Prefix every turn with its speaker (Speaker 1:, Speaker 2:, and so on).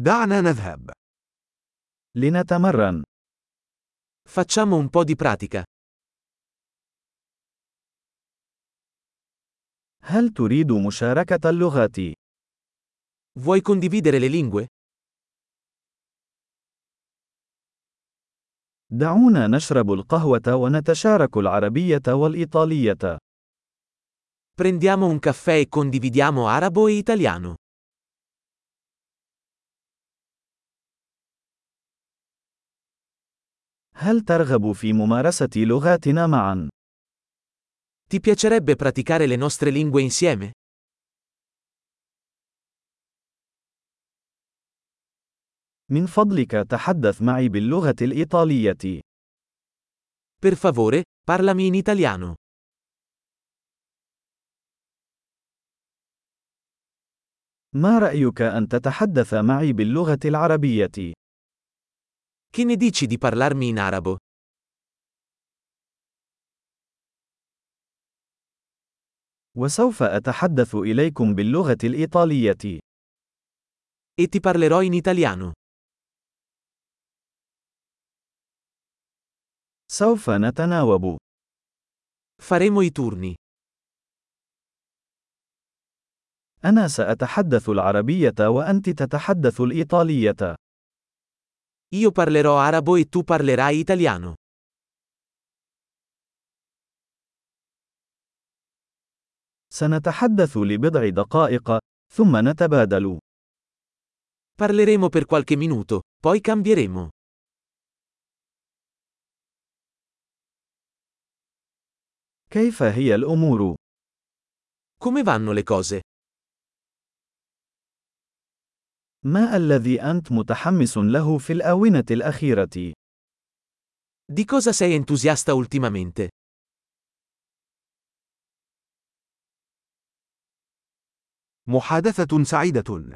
Speaker 1: دعنا نذهب.
Speaker 2: لنتمرن.
Speaker 1: Facciamo un po' di pratica.
Speaker 2: هل تريد مشاركة اللغات؟
Speaker 1: Vuoi condividere le lingue?
Speaker 2: دعونا نشرب القهوة ونتشارك العربية والإيطالية.
Speaker 1: Prendiamo un caffè e condividiamo arabo e italiano.
Speaker 2: هل ترغب في ممارسة لغاتنا معا؟
Speaker 1: Ti piacerebbe praticare le nostre lingue insieme?
Speaker 2: من فضلك تحدث معي باللغة الإيطالية.
Speaker 1: Per favore, parlami in italiano.
Speaker 2: ما رأيك أن تتحدث معي باللغة العربية؟
Speaker 1: Che ne dici di parlarmi in arabo?
Speaker 2: وسوف أتحدث إليكم باللغة الإيطالية.
Speaker 1: E ti parlerò in italiano.
Speaker 2: سوف نتناوب.
Speaker 1: Faremo i turni.
Speaker 2: أنا سأتحدث العربية وأنت تتحدث الإيطالية.
Speaker 1: Io parlerò arabo e tu parlerai italiano.
Speaker 2: سنتحدث لبضع دقائق، ثم نتبادل.
Speaker 1: Parleremo per qualche minuto, poi cambieremo.
Speaker 2: كيف هي الأمور؟
Speaker 1: Come vanno le cose?
Speaker 2: ما الذي أنت متحمس له في الآونة الأخيرة؟
Speaker 1: Di cosa sei entusiasta ultimamente?
Speaker 3: محادثة سعيدة